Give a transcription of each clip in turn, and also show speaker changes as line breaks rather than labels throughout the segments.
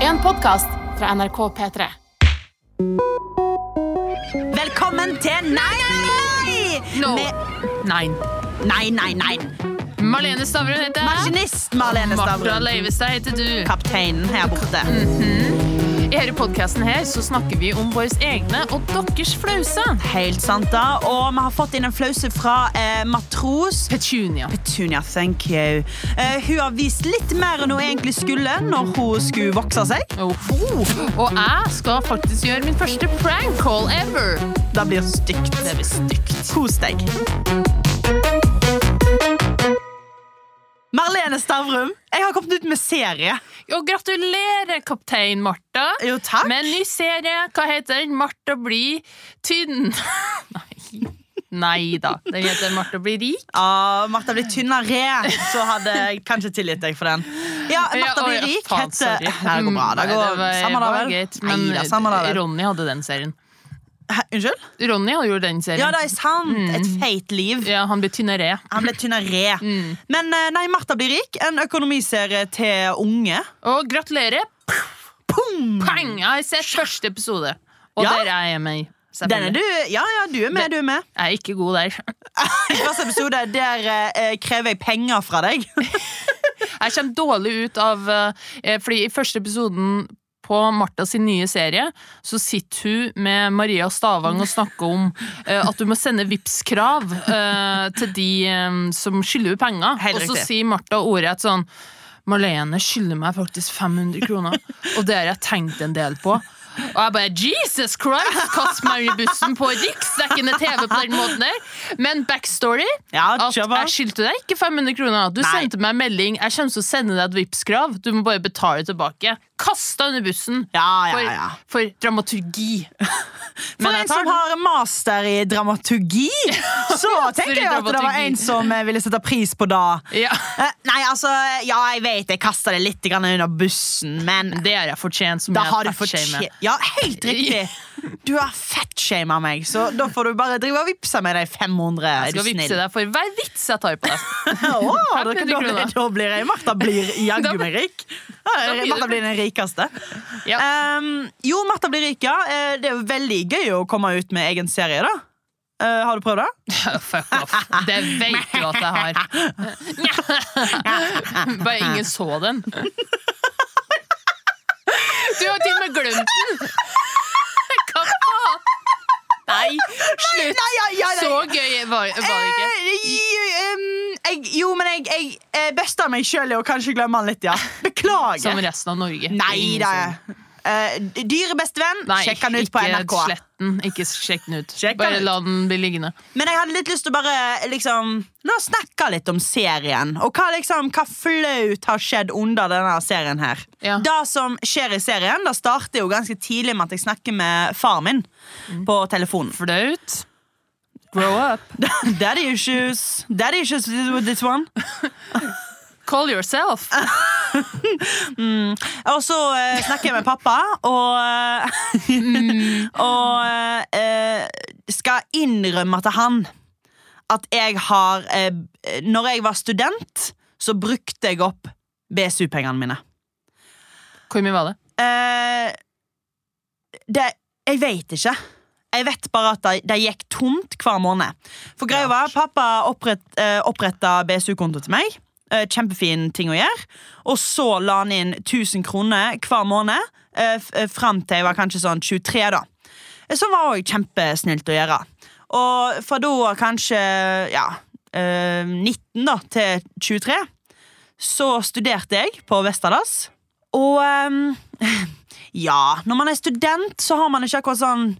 En podkast fra NRK P3.
Velkommen til Nei, nei, nei!
No.
Med
Nei.
Nei, nei, nei.
Marlene Stavrum heter jeg.
Maskinist Marlene
Martha Mm.
Stavrum.
Leivestad heter du.
Kapteinen her borte.
I denne podkasten her så snakker vi om våre egne og deres flause.
Helt sant, da. Og vi har fått inn en flause fra eh, matros.
Petunia.
Petunia, thank you. Eh, hun har vist litt mer enn hun egentlig skulle når hun skulle vokse seg.
Oh. Og jeg skal faktisk gjøre min første prank call ever.
Det blir stygt.
Det blir stygt.
Kos deg. Marlene Stavrum, jeg har kommet ut med serie.
Og gratulerer, kaptein Martha.
Jo, takk.
Med en ny serie. Hva heter den? Martha blir tynn. Nei. Nei da. Den heter Martha blir rik.
Ja, Ah, Martha blir tynnere, så hadde jeg kanskje tilgitt deg for den. Ja,
Ja,
Martha blir
oi,
rik
faen,
heter
sorry.
Nei, Det går bra.
Nei,
Det går
var-
samme det,
var
vel?
greit,
Nei,
men
da, samme det, vel.
Ronny hadde den serien.
Hæ, Unnskyld?
Ronny hadde jo den serien.
Ja, det er sant. Et feit liv.
Mm. Ja, Mm. han ble tynnere.
Han ble tynnere. Men eh, nei, Martha blir rik. En økonomiserie til unge.
Og gratulerer!
Pum!
Pang! Jeg har sett første episode. Og
Ja.
der er jeg med. i,
Den er
selvfølgelig.
du. Ja, ja, du er med, du er med.
Jeg er ikke god der.
I første episode der eh, krever jeg penger fra deg.
Jeg kommer dårlig ut av eh, Fordi i første episoden på Martha sin nye serie så sitter hun med Maria Stavang og snakker om eh, at du må sende Vipps-krav eh, til de eh, som skylder henne penger.
Helt
og så
riktig.
sier Martha ordrett sånn Marlene skylder meg faktisk 500 kroner, og det har jeg tenkt en del på. Og jeg bare Jesus Christ! Kast meg under bussen på riksdekkende TV på den måten der. Men backstory
Ja,
at
kjør på.
jeg skyldte deg ikke 500 kroner. Du
Nei.
sendte meg en melding. Jeg kommer til å sende deg et Vipps-krav. Du må bare betale tilbake. Kasta under bussen
Ja, ja,
for,
ja.
for dramaturgi.
For
Men
en
jeg tar den.
som har master i dramaturgi, så tenker jeg at det var
dramaturgi.
en som eh, ville sette pris på det.
Ja.
Eh, Nei, altså, ja, jeg vet jeg kasta det litt grann under bussen, men
Det har jeg fortjent. Som
da
jeg
har du
fatshamer.
fortjent Ja, helt riktig! Du har fettshama meg, så da får du bare drive og vippse med de 500.
Jeg
Er du
skal vippse
snill?
deg for hver vits jeg tar på deg.
Å, da,
500
da,
kroner.
da blir jeg Martha blir jaggu
Da-
meg rik. Ja,
blir du-
Martha blir den rikeste.
Ja.
Ehm, jo, Martha blir rik, ja. Eh, Det er jo veldig gøy å komme ut med egen serie, da. Eh, har du prøvd det?
Fuck off. Det vet du at jeg har. Bare ingen så den. Du har til og med glemt den! Hva faen? Nei, slutt!
Nei, ja, ja, nei.
Så gøy var, var det ikke.
Eh, ehm, jeg, jo, men jeg, jeg, jeg besta meg sjøl i å kanskje glemme han litt, ja. Beklager.
Som resten av Norge.
Nei
Ingen
da.
som-
Eh, dyre bestevenn,
Nei,
sjekk han ut på
ikke
NRK.
slett den. Ikke sjekk den ut.
Sjekk den
Bare
ut.
la den bli liggende.
Men jeg hadde litt lyst til å bare liksom La oss snakke litt om serien. Og hva liksom, hva flaut har skjedd under denne serien her.
Ja.
Det som skjer i serien, det starter jo ganske tidlig med at jeg snakker med far min på telefonen.
Flaut. Grow up.
Daddy issues. Daddy issues with this one.
Call yourself.
Ah. Og så eh, snakker jeg med pappa, og eh, Og eh, skal innrømme til han at jeg har eh, Når jeg var student, så brukte jeg opp BSU-pengene mine.
Hvor mye var det?
Eh, det Jeg veit ikke. Jeg vet bare at det, det gikk tomt hver måned. For greia var, Pappa opprett, eh, oppretta BSU-konto til meg. Eh, kjempefin ting å gjøre. Og så la han inn 1000 kroner hver måned eh, f- eh, fram til jeg var kanskje sånn 23. da. Eh, Som var òg kjempesnilt å gjøre. Og fra da av kanskje ja, eh, 19 da, til 23 så studerte jeg på Vestadas. Og ehm, ja, når man er student, så har man ikke akkurat sånn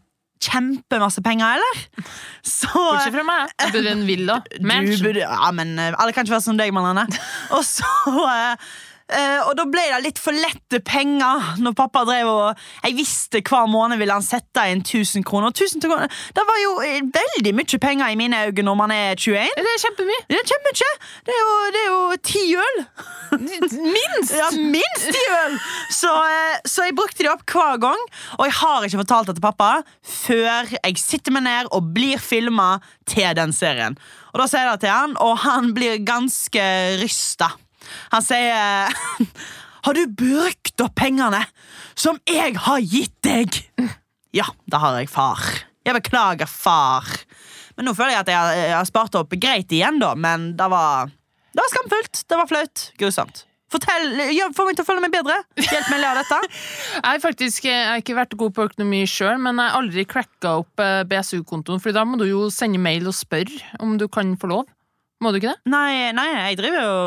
kjempemasse penger, eller? Så
Bortsett fra meg. Jeg bodde i en villa.
du
Mansion.
burde, ja, men eh, alle kan ikke være som deg, Marlene. Og så eh, eh, Og da ble det litt for lette penger når pappa drev og Jeg visste hver måned ville han sette inn 1000 kroner. 1000 kroner. Det var jo eh, veldig mye penger i mine øyne når man er 21.
Det er kjempemye.
Det er kjempemye! Det er jo, det er jo ti øl.
Minst!
Ja, minst ti øl! Så, eh, så jeg brukte de opp hver gang, og jeg har ikke fortalt det til pappa før jeg sitter meg ned og blir filma til den serien. Og da sier jeg det til han, og han blir ganske rysta. Han sier har du brukt opp pengene som jeg har gitt deg? Ja, da har jeg far. Jeg beklager, far. Men nå føler jeg at jeg har, jeg har spart opp greit igjen, da, men det var, det var skamfullt. Det var flaut. Grusomt. Fortell, gjør- Få meg til å føle meg bedre. Hjelp meg å le av dette.
Jeg har faktisk eh, jeg har ikke vært god på økonomi sjøl, men jeg har aldri cracka opp eh, BSU-kontoen, for da må du jo sende mail og spørre om du kan få lov. Må du ikke det?
Nei, nei, jeg driver jo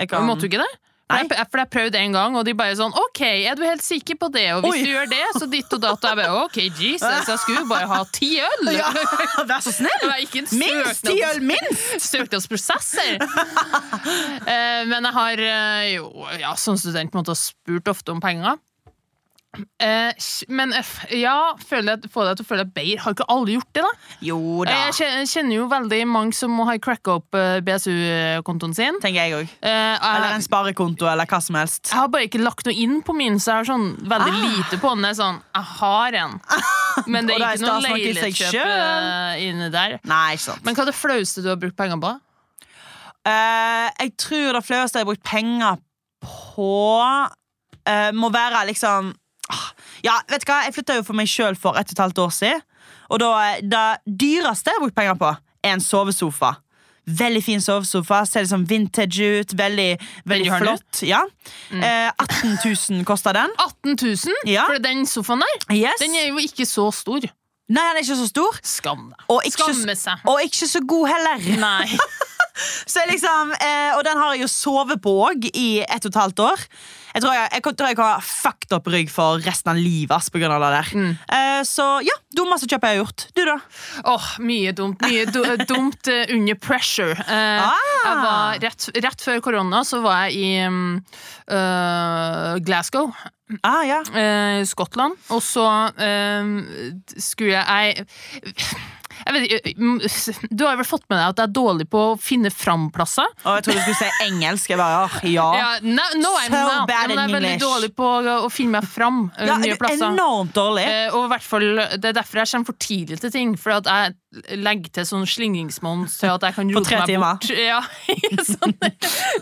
jeg kan...
Måtte du ikke det? For
Nei.
jeg, jeg- for jeg prøvde en gang, og de bare sånn OK, er du helt sikker på det? Og hvis
Oi.
du gjør det, så ditt og datt. Og jeg bare OK, Jesus, jeg skulle jo bare ha ti øl!
Ja, vær så snill!
Det var ikke en
Minst ti
søknads-
øl, minst!
søknadsprosesser! Eh, Men jeg har eh, jo ja, som student måtte ha spurt ofte om penger. Eh, Men eh, ja, føler jeg, får deg til å føle deg bedre. Har ikke alle gjort det, da?
Jo da,
Eh, Jeg kjen- kjenner jo veldig mange som har cracka opp eh, BSU-kontoen sin.
tenker jeg òg.
Eh,
Eller
Jeg,
en sparekonto, eller hva som helst.
jeg har bare ikke lagt noe inn på min, så jeg har sånn veldig lite på den. Det er sånn, jeg har en, men det er
Ah. Og da er
ikke noe
stas nok i seg
leilighetskjøp
selv.
eh, inni der.
Nei, ikke sant.
Men hva er det flaueste du har brukt penger på?
Eh, jeg tror det fleste jeg har brukt penger på, eh, må være liksom Ah, Ja, vet du hva? Jeg flytta jo for meg sjøl for ett og et halvt år siden. Og da, eh, det dyreste jeg har brukt penger på, er en sovesofa. Veldig fin sovesofa. Ser liksom vintage ut. Veldig,
du Mm.
veldig
har nå?
flott. Ja. Eh, 18 000 kosta den.
18 000
Ja.
for den sofaen der?
Yes.
Den er jo ikke så stor.
Nei, den er ikke så stor.
Skam deg.
Og ikke,
Skamme
så,
seg.
og ikke så god heller.
Nei.
Så jeg liksom, eh, og den har jeg jo sovet på òg i ett og et halvt år. Jeg tror jeg, jeg, tror jeg har fucked opp rygg for resten av livet ass, på grunn av det der. Eh, så ja, dummeste kjøpet jeg har gjort. Du, da?
Åh, mye dumt. Mye du, dumt eh, under pressure. Eh,
Ah.
jeg var rett, rett før korona så var jeg i mm, øh, Glasgow,
Ah, ja.
eh, Skottland, og så eh, skulle jeg jeg, jeg vet, ikke, mm, du har vel fått med deg at jeg er dårlig på å finne fram-plasser?
Og jeg trodde du skulle si engelsk. Jeg bare, ah, ja.
Ja, no, no, I'm
So
not.
bad
Men jeg er
in
veldig
English.
dårlig på å, å finne meg fram eh,
Ja,
nye
du er
plasser.
enormt dårlig.
Eh, og i hvert fall, Det er derfor jeg kommer for tidlig til ting. For at jeg legger til sånn slingringsmonn til at jeg kan rote
tre
meg
timer.
bort. Ja, i sånne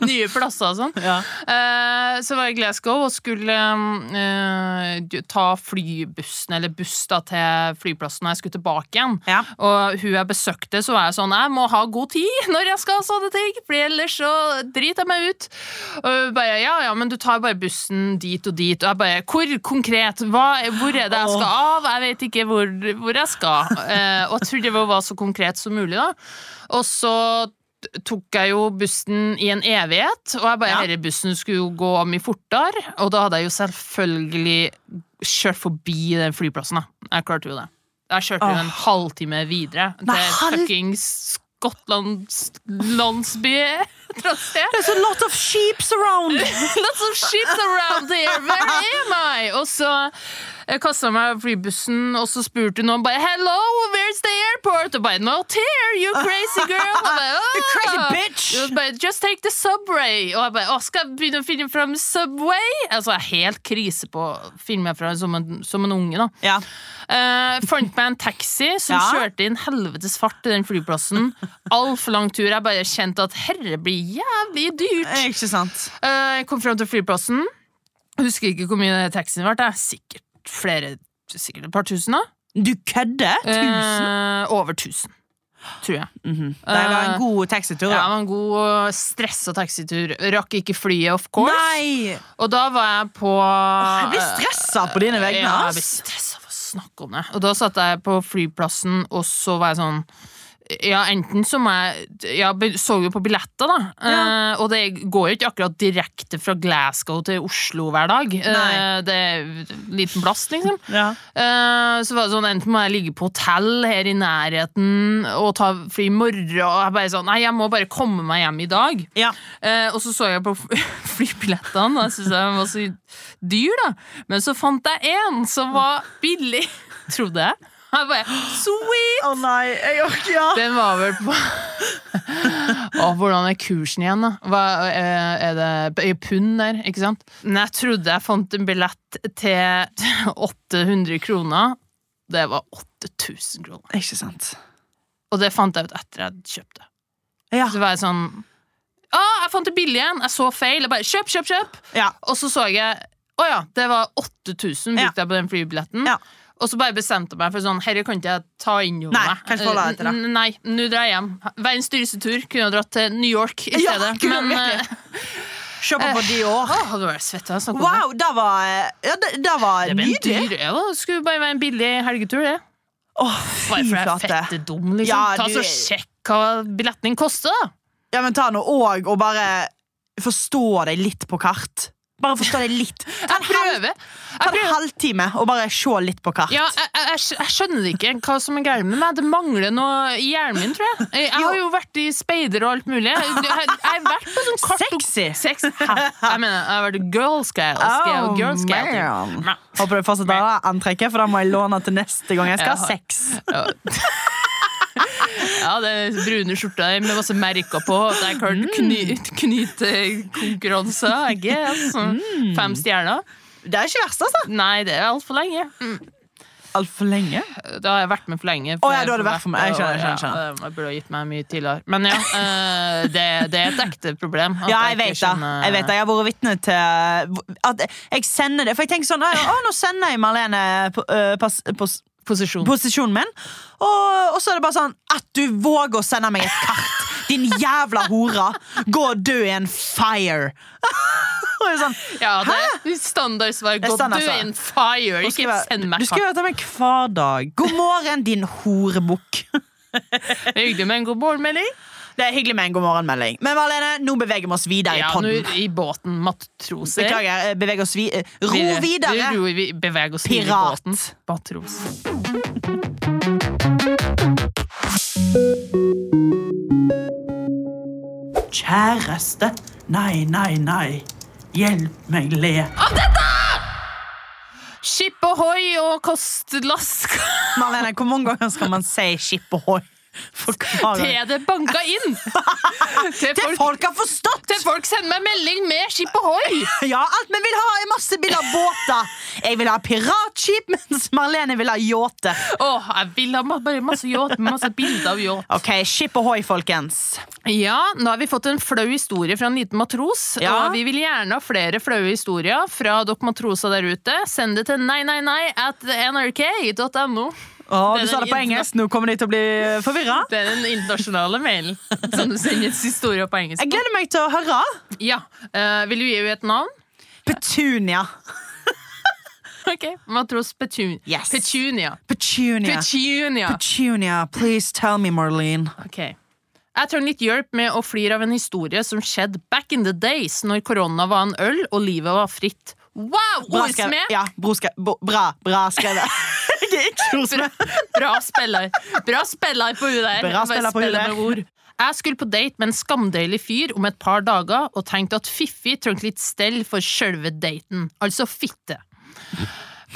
nye plasser og sånn.
Ja.
Eh, så var jeg i Glasgow og skulle eh, eh, ta flybussen, eller buss, da, til flyplassen når jeg skulle tilbake igjen.
Ja.
Og hun jeg besøkte, så var jeg sånn Jeg må ha god tid når jeg skal ha sånne ting, for ellers så driter jeg meg ut. Og hun bare Ja, ja, men du tar bare bussen dit og dit. Og jeg bare Hvor konkret? Hva, hvor er det jeg skal av? Jeg vet ikke hvor, hvor jeg skal. Eh, og jeg trodde det var så konkret som mulig, da. Og så t- tok jeg jo bussen i en evighet, og jeg bare
Ja.
Herre, bussen skulle jo gå mye fortere, og da hadde jeg jo selvfølgelig kjørt forbi den flyplassen, da. Jeg klarte jo det. Jeg kjørte jo en halvtime videre til
Nei, halv-
fuckings Skottlands landsby et eller annet sted.
There's a lot of sheeps around!
Lots of ships around here, where am I? Og så jeg kastet meg over flybussen, og så spurte noen bare Hello, where's the airport? Og bare Not here, you crazy girl! Og bare,
You crazy
«Åh!»
bitch!
Og bare, Just take the subway! Og jeg bare Å, skal jeg begynne å finne fram Subway? Altså, jeg er helt krise på å finne meg fra som en, som en unge, da.
Ja.
Eh, fant meg en taxi som
Ja.
kjørte inn helvetes fart til den flyplassen. Altfor lang tur. Jeg bare kjente at herre blir jævlig dyrt.
Eh, Ikke sant?
Eh, Jeg kom frem til flyplassen. Husker ikke hvor mye taxien ble. Det er sikkert flere Sikkert et par tusen, da.
Du kødder? Tusen?
Eh, over tusen, tror jeg.
Det var en god taxitur.
Ja, det
da.
var en god stressa taxitur. Rakk ikke flyet, of course.
Nei!
Og da var jeg på
Jeg blir stressa på dine vegne.
eh, Ja, jeg blir
ass.
stressa av å snakke om det. Og da satt jeg på flyplassen, og så var jeg sånn ja, enten så må jeg Jeg be- så jo på billetter, da.
Ja.
Eh, og det går jo ikke akkurat direkte fra Glasgow til Oslo hver dag. Eh,
Nei.
det er en liten plass, liksom.
Ja.
Eh, så var det sånn, Enten må jeg ligge på hotell her i nærheten og ta fly i morgen. Og jeg bare sånn Nei, jeg må bare komme meg hjem i dag.
Ja.
Eh, og så så jeg på f- flybillettene, og jeg syntes den var så dyr, da. Men så fant jeg én som var billig, trodde jeg. Jeg bare, sweet!
Å nei, jeg orker ja.
Den var vel på Å, Hvordan er kursen igjen, da? Hva, eh, er det i pund der, ikke sant? Men jeg trodde jeg fant en billett til 800 kroner. Det var 8000 kroner.
Ikke sant.
Og det fant jeg ut etter jeg hadde kjøpt det.
Ja.
Så var jeg sånn Å, jeg fant det billig igjen! Jeg så feil. Jeg bare kjøp, kjøp, kjøp!
Ja.
Og så så jeg Å ja, det var 8000 brukte
Ja.
jeg på den flybilletten.
Ja.
Og så bare bestemte jeg meg for sånn Herre, kan ikke jeg ta inn over
Nei,
meg?
kan ikke holde deg til det.
Eh, n- Nei, nå drar jeg hjem. Verdens dyreste tur. Kunne jeg dratt til New York i
Ja,
stedet.
kunne
Men
virkelig.
eh,
Kjøpe på Dior.
å, hadde vært svett av å snakke om det.
Eh, Wow, det var, ja, det, det var
Det ble en
nydelig.
dyr, ja, det skulle bare være en billig helgetur, det.
Åh,
Bare
fy
for jeg er
flate.
fette dum, liksom.
Ja,
Ta
du
så
er-
Sjekk hva billetten din koster, da.
Ja, men ta nå òg og bare forstå deg litt på kart. Bare forstå deg litt. Ta
Jeg
en, halv,
prøver. Jeg
ta en
prøver.
halvtime og bare se litt på kart.
Ja, jeg, jeg, jeg skj- jeg skjønner ikke hva som er galt med meg. Det mangler noe i hjernen min, tror jeg. Jeg jeg har jo vært i speider og alt mulig. Jeg, jeg, jeg har vært på sånn kart og
Sexy! Oh,
Sex? Hæ? Jeg mener, jeg har vært girl scout. scout girl scout.
man. Håper du fortsetter det antrekket, for da må jeg låne til neste gang jeg skal ha
Ja.
sex.
Ja. Ja, det er brune skjorta med masse merker på. og Det er klart kny- knytekonkurranse. Ikke? Altså, fem stjerner.
Det er ikke verst, altså.
Nei, det er altfor lenge. Mm.
Altfor lenge.
Da har jeg vært med for lenge.
Å, ja, da har du vært for meg. Jeg skjønner, jeg skjønner,
Ja, Eh, jeg burde ha gitt meg mye tidligere. Men ja, eh, det, det er et ekte problem. at
Ja, jeg
ikke
vet det.
skjønner-
Jeg vet det, jeg har vært vitne til at jeg sender det. For jeg tenker sånn Å, nå sender jeg Marlene på, øh, pas, pos,
Posisjon.
posisjonen min. Og, og så er det bare sånn At du våger å sende meg et kart! Din jævla hore! Gå og dø i en fire! og jeg er sånn,
Ja, det er standardsvar. Gå
standardsvar.
du in fire,
du
ikke
skriver-
send meg
du skriver til meg hver dag. God morgen, din horebukk.
Det er Hyggelig med en god morgenmelding.
Det er hyggelig med en god morgenmelding. Men Marlene, nå beveger vi oss videre
Ja,
i
nå
podden.
i båten, matroser.
Beklager. eh, Beveg oss vi... eh, Ro
Vi-
videre!
Vi, ro- vi beveger oss videre i
Pirat.
båten. Matros.
Kjæreste. Nei, nei, nei. Hjelp meg le.
Skip ohoi og kostlass
Marlene, hvor mange ganger skal man si skip ohoi? For hver gang.
til det banka inn! til
Det
folk,
folk har forstått!
til folk sender meg melding med skip ohoi!
Ja, alt vi vil ha er masse bilder av båter. Jeg vil ha piratskip, mens Marlene vil ha yachte.
Åh, jeg vil ha ma- bare masse yacht med masse bilder av yacht.
Ok, skip ohoi, folkens.
Ja, nå har vi fått en flau historie fra en liten matros,
Ja.
og vi vil gjerne ha flere flaue historier fra dere matroser der ute. Send det til nei, nei, nei at nrk.no.
Å,
Det er
du sa
den
det på engelsk, nå kommer de til å bli forvirra.
Det er den internasjonale mailen som du sender historier på engelsk.
Jeg gleder meg til å høre.
Ja, eh, Vil du gi henne et navn?
Petunia.
Ok, Matros Petun
Yes.
Petunia.
Petunia.
Petunia.
Petunia, please tell me, Marlene.
Ok. Jeg trenger litt hjelp med å flire av en historie som skjedde back in the days, når korona var en øl og livet var fritt. Wow!
Bra skrevet.
Ordsmed!
Ja, bro skre- bo- bra, bra skrevet. Jeg er ikke ordsmed.
Bra spiller. Bra spiller på hun der. Bare
Bra spiller på hun
spiller
der.
med ord. Jeg skulle på date med en skamdeilig fyr om et par dager, og tenkte at Fiffi trengte litt stell for sjølve daten. Altså fitte.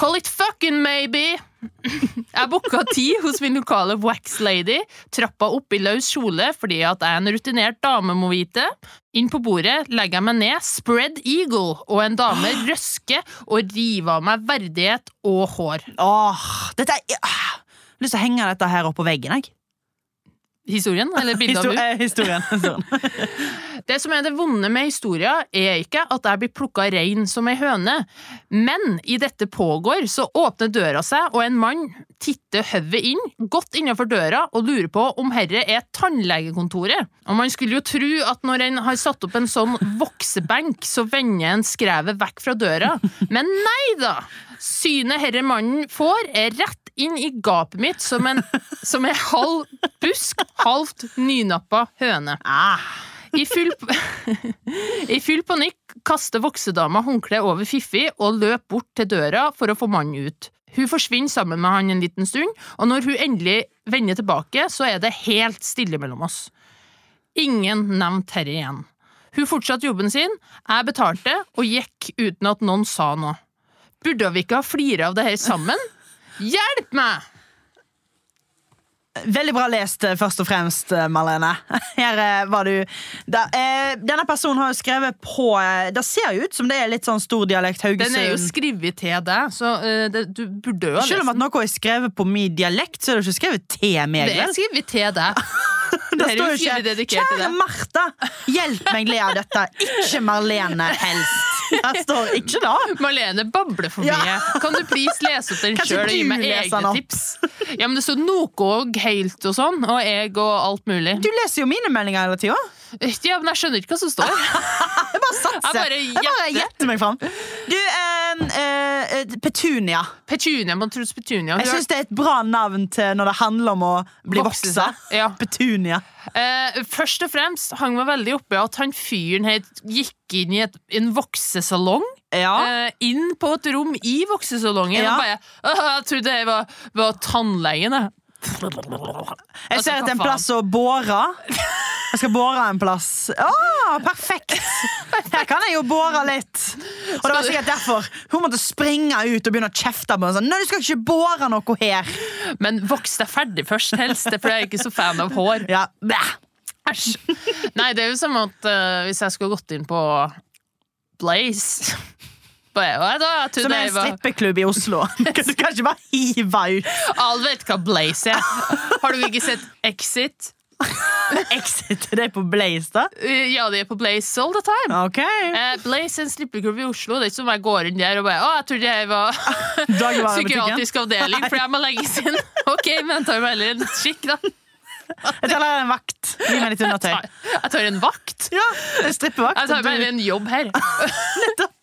Call it fucking maybe! Jeg booka tid hos min lokale wax lady, trappa opp i løs kjole fordi at jeg er en rutinert dame, må vite. Inn på bordet legger jeg meg ned, spread eagle, og en dame røsker og river av meg verdighet og hår.
Åh, dette er ah, Jeg har lyst til å henge dette her opp på veggen, jeg.
Historien? Eller bildet av
Histo-
hun?
eh, historien. historien.
Det som er det vonde med historia, er ikke at jeg blir plukka rein som ei høne, men i dette pågår, så åpner døra seg, og en mann titter hodet inn, godt innafor døra, og lurer på om herre er tannlegekontoret. Og man skulle jo tro at når en har satt opp en sånn voksebenk, så vender en skrevet vekk fra døra, men nei da! Synet herre mannen får, er rett inn i gapet mitt som en, som en halv busk, halvt nynappa høne.
Ah,
I full, I full panikk kaster voksedama håndkleet over Fiffi og løp bort til døra for å få mannen ut. Hun forsvinner sammen med han en liten stund, og når hun endelig vender tilbake, så er det helt stille mellom oss. Ingen nevnte herre igjen. Hun fortsatte jobben sin, jeg betalte og gikk uten at noen sa noe. Burde vi ikke ha flira av det her sammen? Hjelp meg!
veldig bra lest, eh, først og fremst, eh, Marlene. Her eh, var du da, eh, Denne personen har jo skrevet på eh, Det ser jo ut som det er litt sånn stor dialekt Haugesund.
Den er jo skrevet til deg, så eh, det, du burde jo ha
Selv om at noe er skrevet på min dialekt, så er det ikke skrevet til meg.
Det
vel?
skriver vi til deg.
Det
Dette er
står
jo
jo
tydelig
ikke
dedikert til
'Kjære
deg.
Martha, hjelp meg le av dette'. Ikke Marlene helst. Det står ikke det.
Marlene babler for mye.
Ja.
Kan du please lese opp den
Kanskje
sjøl og gi
du
meg
leser den
egne
opp?
tips? Ja, men det står noe og helt og sånn, og egg og alt mulig.
Du leser jo mine meldinger hele tida.
Ja, men jeg skjønner ikke hva som står.
Ah. Jeg bare
Jeg
satser.
bare
Jeg bare
gjetter.
gjetter meg fram. Du, eh, eh, Petunia.
Petunia, man tror Petunia.
Jeg syns det er et bra navn til når det handler om å bli
Vokse
voksa.
seg, ja.
Petunia.
Eh, først og fremst hang meg veldig oppi at han fyren her gikk inn i et, en voksesalong.
Ja.
eh, inn på et rom i voksesalongen
Ja.
og bare «Åh, Jeg trodde det var, var tannlegen, jeg.
Jeg ser
altså, hva
etter en
faen?
plass å bore. Jeg skal bore en plass. Å, perfekt! Her kan jeg jo bore litt. Og det var
Skal du-
sikkert derfor hun måtte springe ut og begynne å kjefte på henne. Sånn, Nei, du skal ikke bore noe her.
Men voks deg ferdig først, helst. Det er fordi jeg er ikke så fan av hår.
Ja, bæ.
Æsj. Nei, det er jo som at eh, hvis jeg skulle gått inn på Blaze bare, «Hva da? Jeg
Som
trodde
er en
jeg var
strippeklubb i Oslo. Du kan ikke bare hive ut.
Alle vet hva Blaze er. Har du ikke sett Exit?
Exit det er på Blaze, da.
Eh, Ja, de er på Blaze all the time.
Ok.
Eh, Blaze er en strippeklubb i Oslo. Det er ikke som om jeg går inn der og bare Å, jeg trodde jeg var
Dagligvarebutikken.
psykiatrisk avdeling, for jeg må legges inn. Ok, men jeg tar meg heller en skikk, da.
Jeg tar deg en vakt. Gi meg litt undertøy.
Tar- Jeg tar en vakt.
Ja, en strippevakt.
Jeg tar meg
Du-
heller en jobb her.
Nettopp.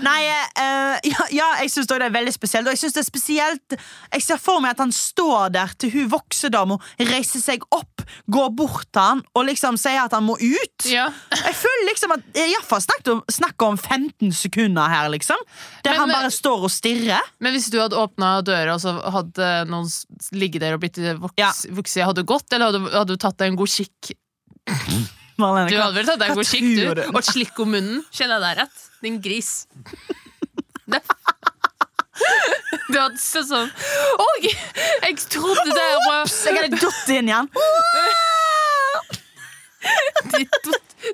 Nei, eh, ja, ja, jeg syns det er veldig spesielt. Og jeg synes det er spesielt Jeg ser for meg at han står der til hun voksedama reiser seg opp, går bort til han og liksom sier at han må ut.
Ja.
Jeg føler liksom at det er i hvert fall snakk om, snakk om 15 sekunder her, liksom. Der
Men,
han
eh,
bare står og stirrer.
Men hvis du hadde åpna døra, og så hadde noen s- ligget der og blitt voks,
Ja.
voksen, hadde du gått, eller hadde, hadde du tatt deg en god kikk?
Marlene,
Du
hva-
hadde vel tatt deg en
hva
god kikk, du?
tror
Og slikk om munnen. Kjenner jeg deg rett? Din gris. Det. Du hadde sett sånn Oi! Jeg trodde det var
Jeg hadde datt inn igjen.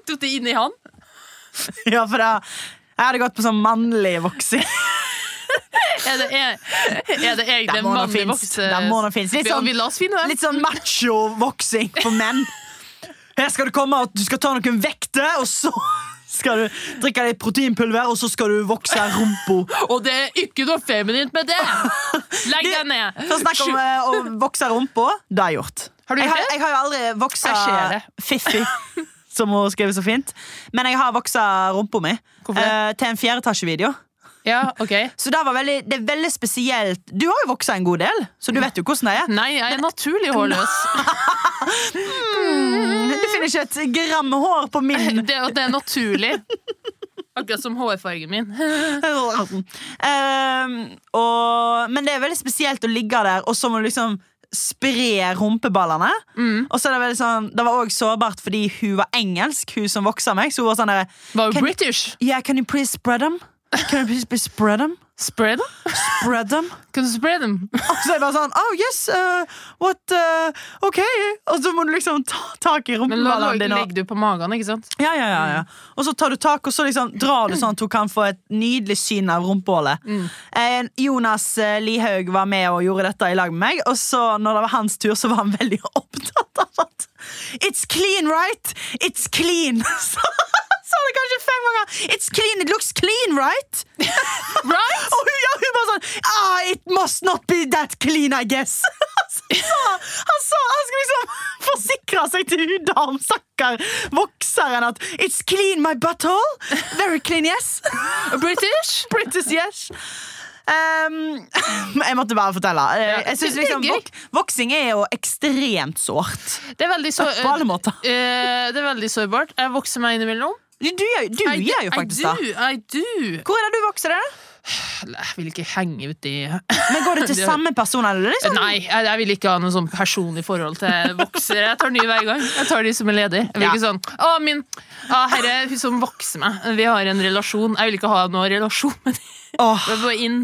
Tok det inni han?
Ja, for da jeg hadde gått på sånn mannlig voksing.
Er det, er, er det
Det
egne
må nå
mannlige
finnes.
vokse...
Det må nå finnes. Litt
Vi-
sånn-
vi la oss finne den.
Litt sånn macho-voksing for menn. Her skal du komme og du skal ta noen vekter, og så skal du drikke litt proteinpulver, og så skal du vokse rumpa.
Og det er ikke noe feminint med det! Legg deg ned!
For å snakke om eh, å vokse rumpa, det har jeg gjort.
Har du
jeg,
gjort
har,
det?
jeg har jo aldri voksa
Jeg ser det.
fiffi, som hun skriver så fint. Men jeg har voksa rumpa mi
Hvorfor det?
eh, til en fjerdeetasjevideo.
Ja, ok.
Så det, var veldig, det er veldig spesielt. Du har jo voksa en god del, så du vet jo hvordan det er.
Nei, jeg er naturlig hårløs. Mm.
Du finner ikke et gram hår på min
Det, og det er naturlig. Akkurat som hårfargen min.
Ehm, og, men det er veldig spesielt å ligge der, og så må du liksom spre rumpeballene. Og så er det veldig sånn Det var òg sårbart fordi hun var engelsk, hun som voksa meg. Så hun var sånn derre
Var jo
Kan-
British.
Yeah, can you please spread them? Can you please be- spread them?
Spray them.
Spread them?
Kan du spray them?
Og så er det bare sånn Oh yes, uh, what uh, Ok. Og så må du liksom ta tak i
Men la, la,
rumpeballene dine. og-
legger du på magen, ikke sant?
Ja, ja, ja, ja. Og så tar du tak, og så liksom drar du sånn at hun kan få et nydelig syn av rumpehullet. Eh, Jonas eh, Lihaug var med og gjorde dette i lag med meg, og så når det var hans tur, så var han veldig opptatt av at It's clean, right? It's clean! Så sa det kanskje fem ganger. It's clean, it looks clean, right?
Right?
Og hun, ja, hun bare sånn ah, It must not be that clean, I guess. Så han han sa Han skulle liksom forsikre seg til hun damstakkar vokseren at It's clean, my butthole. Very clean, yes.
Oh, British?
British, yes. Ehm, jeg måtte bare fortelle. Eh, Jeg
det
synes
er
liksom
gøy.
vok Voksing er jo ekstremt sårt.
Det er veldig så...
På alle måter.
Eh, det er veldig sårbart. Jeg vokser meg innimellom.
Du, du, gjør- du
I do-
gjør jo faktisk det.
I do, I do.
Hvor er det du vokser? det?
Jeg vil ikke henge ut i
Men Går det til
Det-
samme person? eller er det sånn?
Nei, jeg, jeg vil ikke ha noe sånn personlig forhold til voksere. Jeg tar nye hver gang. Jeg tar de som er ledig. Jeg vil
Ja.
ikke sånn Å, min Å, herre, hun som vokser meg. Vi har en relasjon. Jeg vil ikke ha noen relasjon med dem.
Åh.
Gå inn,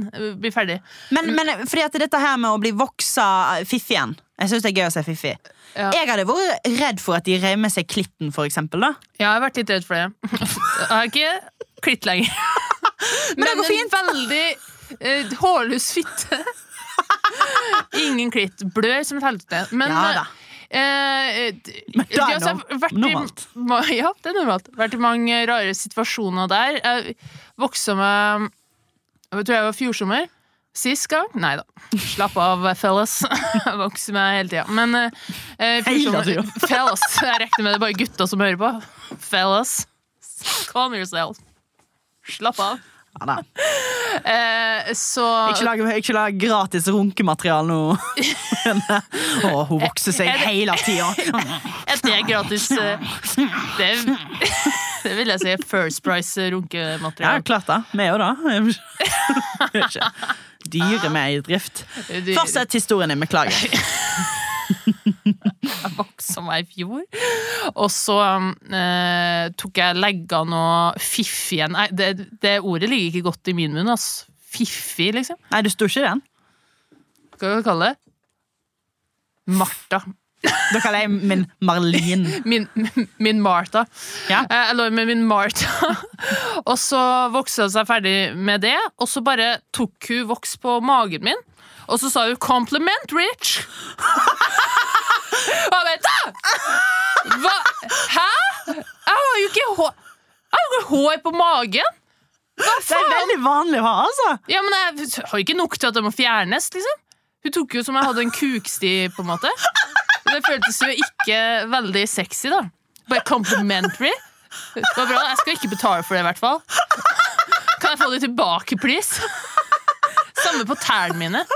bli ferdig.
Men, men fordi at dette her med å bli voksa fiffig igjen Jeg synes det er gøy å si fiffig.
Ja.
Jeg hadde vært redd for at de rev med seg klitten, for eksempel. Da.
Ja, jeg har vært litt redd for det. Jeg har ikke klitt lenger. Men,
det går
en veldig eh, hårløs fitte. Ingen klitt. Blør som et helvete. Men
Ja da.
eh, Eh, d-
Men det er
altså,
no-
jeg har vært i-
normalt.
ma- Ja, det er normalt. Vært i mange rare situasjoner der. Jeg vokste med Jeg tror jeg var fjorsommer. Sist gang? Nei da. Slapp av, fellas. Jeg Vokser meg hele tida. Men eh, eh,
Hele
fjorsommer Fellas. Jeg regner med det er bare gutta som hører på. Fellas. Calm yourself. Slapp av.
Ja, da.
Eh, så
Ikke lag, ikke lag gratis runkemateriale nå. eh, Å, hun vokser seg hele tida.
Et det er gratis eh, det, det vil jeg si er First Price
Ja,
runkemateriale.
klart det. Vi òg, da. Ikke Dyre med i drift.
Du-
Fortsett historien din. Beklager.
Jeg vokste meg i fjor. Og så um, eh, tok jeg leggene og fiffien Nei, det, det ordet ligger ikke godt i min munn, ass. Fiffig, liksom.
Nei, du sto ikke i den.
Hva skal vi kalle det? Martha.
Da kaller jeg min Marlin.
Min, min Martha.
Ja.
Eh, Jeg lå med min Martha, og så vokste hun seg ferdig med det. Og så bare tok hun voks på magen min, og så sa hun 'compliment, Rich'. Og jeg bare «Da! Hva? Hæ? Jeg har jo ikke hår Jeg har jo ikke hår på magen!
Det er veldig vanlig å ha, altså.
Ja, men jeg har jo ikke nok til at det må fjernes, liksom. Hun tok jo som jeg hadde en kuksti, på en måte. Det føltes jo ikke veldig sexy, da. Bare complimentary. Det var bra. Jeg skal ikke betale for det, i hvert fall. Kan jeg få det tilbake, please? Samme på tærne mine.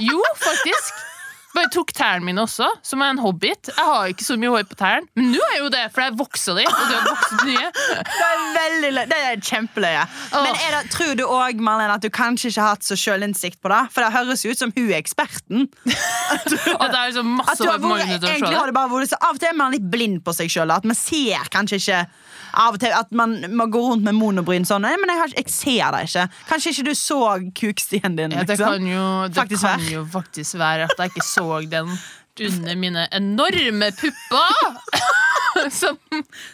Jo, faktisk. Bare tok tærne mine også, som er en hobbit. Jeg har ikke så mye hår på tærne, men nå er jo det, for jeg vokser de, og de har vokst nye.
Det er veldig lø- Det er kjempeløye. Men er det, tror du òg, Marlene, at du kanskje ikke har hatt så sjølinnsikt på det? For det høres jo ut som hun er eksperten.
Og det er liksom
At
masse
du
hår på
har vært,
magen utover
egentlig
skjoldet.
har det bare vært så Av og til er man litt blind på seg sjøl. At man ser kanskje ikke Av og til at man, man går rundt med monobryn sånn. Nei, men jeg, har, ikke- jeg ser deg ikke. Kanskje ikke du så kukstien din.
Ja, det
liksom.
kan jo, det
Faktisk
kan
være.
jo faktisk være at jeg ikke så den under mine enorme pupper! Som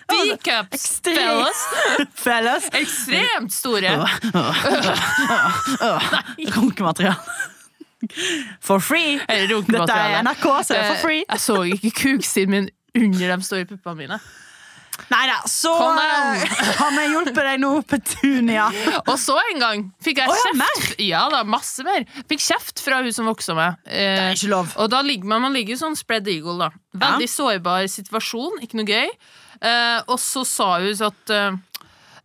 decaps fellas.
Felles.
Ekstremt store.
Runkemateriale. For free!
Eller
Dette
runkemateriale.
er NRK, så det er
Eh,
for free.
Jeg så ikke kuksiden min under de store puppene mine.
Nei da, så
Kom
eh,
deg
har vi hjulpet deg nå, Petunia.
Og så en gang fikk jeg
Å, ja,
kjeft. Ja da, masse mer. Fikk kjeft fra hun som vokste meg. Eh,
Ikke lov.
Og da ligger man, man ligger jo sånn spread eagle, da.
Ja.
Veldig sårbar situasjon, ikke noe gøy. Eh, og så sa hun så at eh,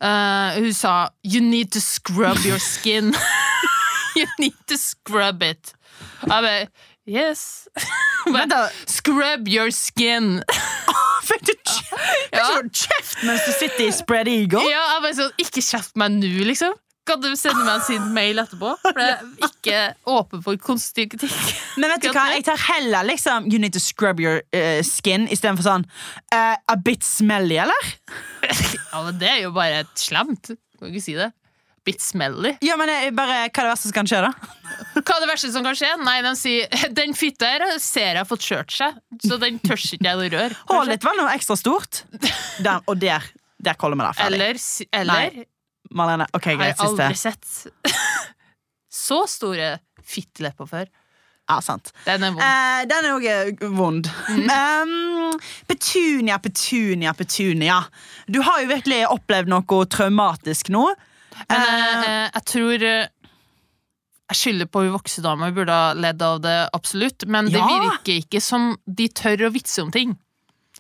eh, Hun sa 'You need to scrub your skin'. 'You need to scrub it'. Jeg bare Yes.
Vent da.
Scrub your skin.
Fikk du kjeft? Fikk
Ja.
du kjeft mens du sitter i spread eagle?
Ja, jeg bare sånn, ikke kjeft meg nå, liksom. Kan du sende meg en sint mail etterpå? For jeg er ikke åpen for konstruktiv kritikk.
Men vet du hva, jeg tar heller liksom You need to scrub your eh, skin Istedenfor sånn eh, A bit smelly, eller?
Ja, men det er jo bare et slemt. Kan ikke si det. Bit smelly.
Ja, men jeg, bare, Hva er det verste som kan skje, da?
Hva er det verste som kan skje? Nei, de sier den fitta her ser jeg har fått kjørt seg, så den tør ikke jeg å røre.
Hålet ditt var noe ekstra stort. Der, og der der kaller vi det ferdig.
Eller, si- eller
Nei, Marlene, ok,
har jeg
greit, siste.
aldri sett så store fittelepper før.
Ja, sant.
Den er vond.
Eh, den er òg vond. Um, petunia, petunia, petunia. Du har jo virkelig opplevd noe traumatisk nå.
Men eh, eh, jeg tror eh, Jeg skylder på hun voksedama, hun burde ha ledd av det absolutt. Men det
Ja.
virker ikke som de tør å vitse om ting.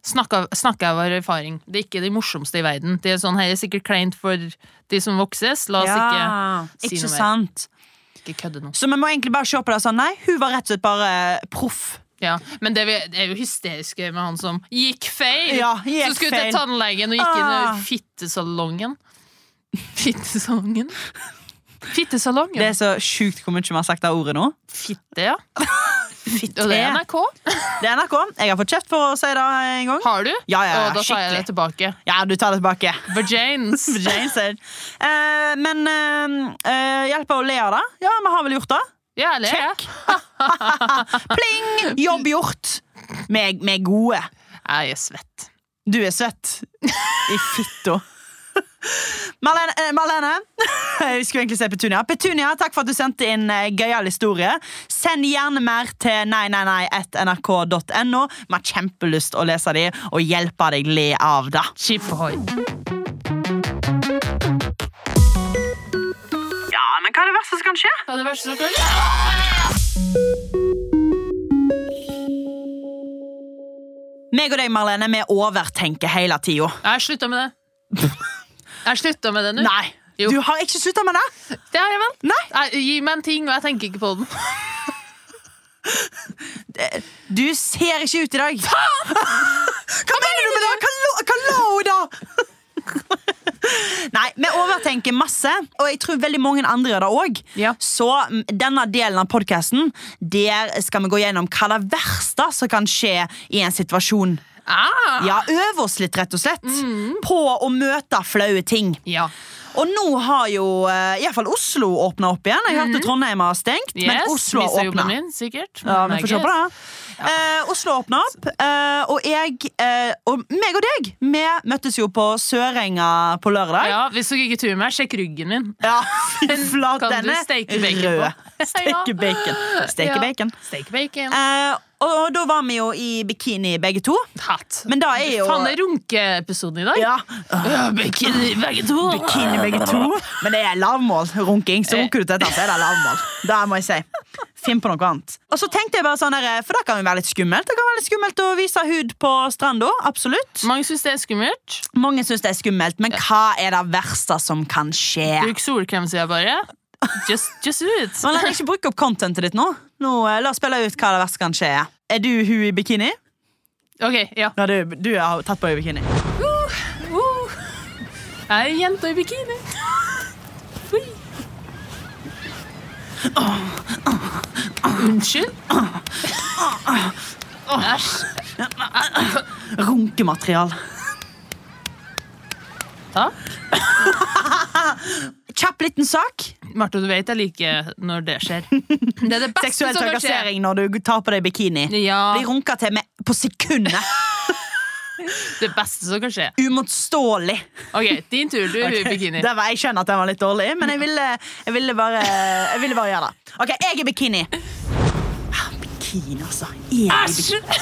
Snakker snakker jeg av erfaring. Det er ikke de morsomste i verden. Det er sånn, her er sikkert kleint for de som vokses. La oss
ikke,
si noe mer.
sant.
ikke, ikke kødde nå.
Så vi må egentlig bare se på det sånn. Nei, hun var rett og slett bare eh, proff.
Ja, men det, vi- det er jo hysterisk gøy med han som gikk feil!
Ja, gikk
som skulle
feil.
til tannlegen og gikk
Ah.
inn i fittesalongen. Fittesalongen? Fittesalongen.
Det er så sjukt hvor mye vi har sagt av ordet nå.
Fitte, ja. Og det er NRK.
Det er NRK. Jeg har fått kjeft for å si det en gang.
Har du?
Ja, ja, ja,
Og da tar jeg det
skikkelig.
tilbake.
Ja, du tar det tilbake.
Vagines.
Jane said. Eh, men eh, eh, hjelper å le av det. Ja, vi har vel gjort det.
Ja, eller jeg.
Pling! Jobb gjort. Vi er- vi er gode.
Jeg er svett.
Du er svett. I fitta. Marlene, eh, Marlene. vi skulle egentlig se Petunia. Petunia, takk for at du sendte inn eh, gøyal historie. Send gjerne mer til nei, nei, nei, at nrk.no. Vi har kjempelyst å lese de og hjelpe deg le av det.
Chip Ahoy.
Ja, men hva er det verste som kan skje?
Hva er det verste som kan
Meg og deg, Marlene, vi overtenker hele tida.
Jeg har slutta med det. Jeg har slutta med det nå.
Nei.
Jo.
Du har ikke slutta med det?
Det har jeg vel.
Nei.
Jeg, gi meg en ting, og jeg tenker ikke på den.
Du ser ikke ut i dag. Hva mener du med det? Hva lo- Hva la hun da? Nei, vi overtenker masse, og jeg tror veldig mange andre gjør det òg.
Ja.
Så mm, denne delen av podkasten skal vi gå gjennom hva det verste som kan skje i en situasjon.
Ah.
Ja, Øve oss litt, rett og slett, på å møte flaue ting.
Ja.
Og nå har jo eh, i hvert fall Oslo åpna opp igjen. Jeg hørte Trondheim har stengt, men
Yes,
Oslo har
mister
åpna.
jobben min, sikkert.
Ja,
Men
vi får se
jeg-
på det. Eh, Oslo åpna opp, eh, og jeg eh, Og meg og deg, vi møttes jo på Sørenga på lørdag.
Ja, Hvis dere ikke tror meg, sjekk ryggen min.
Ja, fy
Den
flate,
kan du
den er
steke bacon
rød.
på. Ja.
Steke bacon. Steke
Ja.
bacon.
Steak bacon.
Eh, og da var vi jo i bikini begge to.
Hatt.
Men da er jo
Faen, det er runkeepisoden i dag.
ja,
Øh, Bikini, begge to.
Bikini begge to. Men det er lavmål. Runking. Så runker du til dette, så er det lavmål. Det må jeg si. Finn på noe annet. Og så tenkte jeg bare sånn der, For det kan jo være litt skummelt Det kan være litt skummelt å vise hud på stranda. Absolutt.
Mange syns det er skummelt.
Mange syns det er skummelt, men hva er det verste som kan skje?
Bruk solkrem, sier jeg bare. Just, just do it.
Men la ikke bruke opp contentet ditt nå. nå eh, la oss spille ut hva det verste kan skje. Er du hun i bikini?
Ok, ja.
Ja, du, du har tatt på deg bikini.
Uh, jeg er ei jente i bikini. Ui. Unnskyld? Æsj.
Runkematerial.
Ja.
Kjapp liten sak.
Marte, du vet jeg liker når det skjer. Det er det beste
Seksuell
som kan skje.
trakassering når du tar på deg bikini.
Ja,
Blir runka til med på sekundet.
det beste som kan skje.
Uimotståelig.
Ok, din tur. Du er hun i bikini.
Det var, jeg skjønner at den var litt dårlig, men jeg ville, jeg ville, bare, jeg ville bare gjøre det. OK, jeg er bikini. Ah, Bikini, altså. Jeg er i
Æsj!
bikini.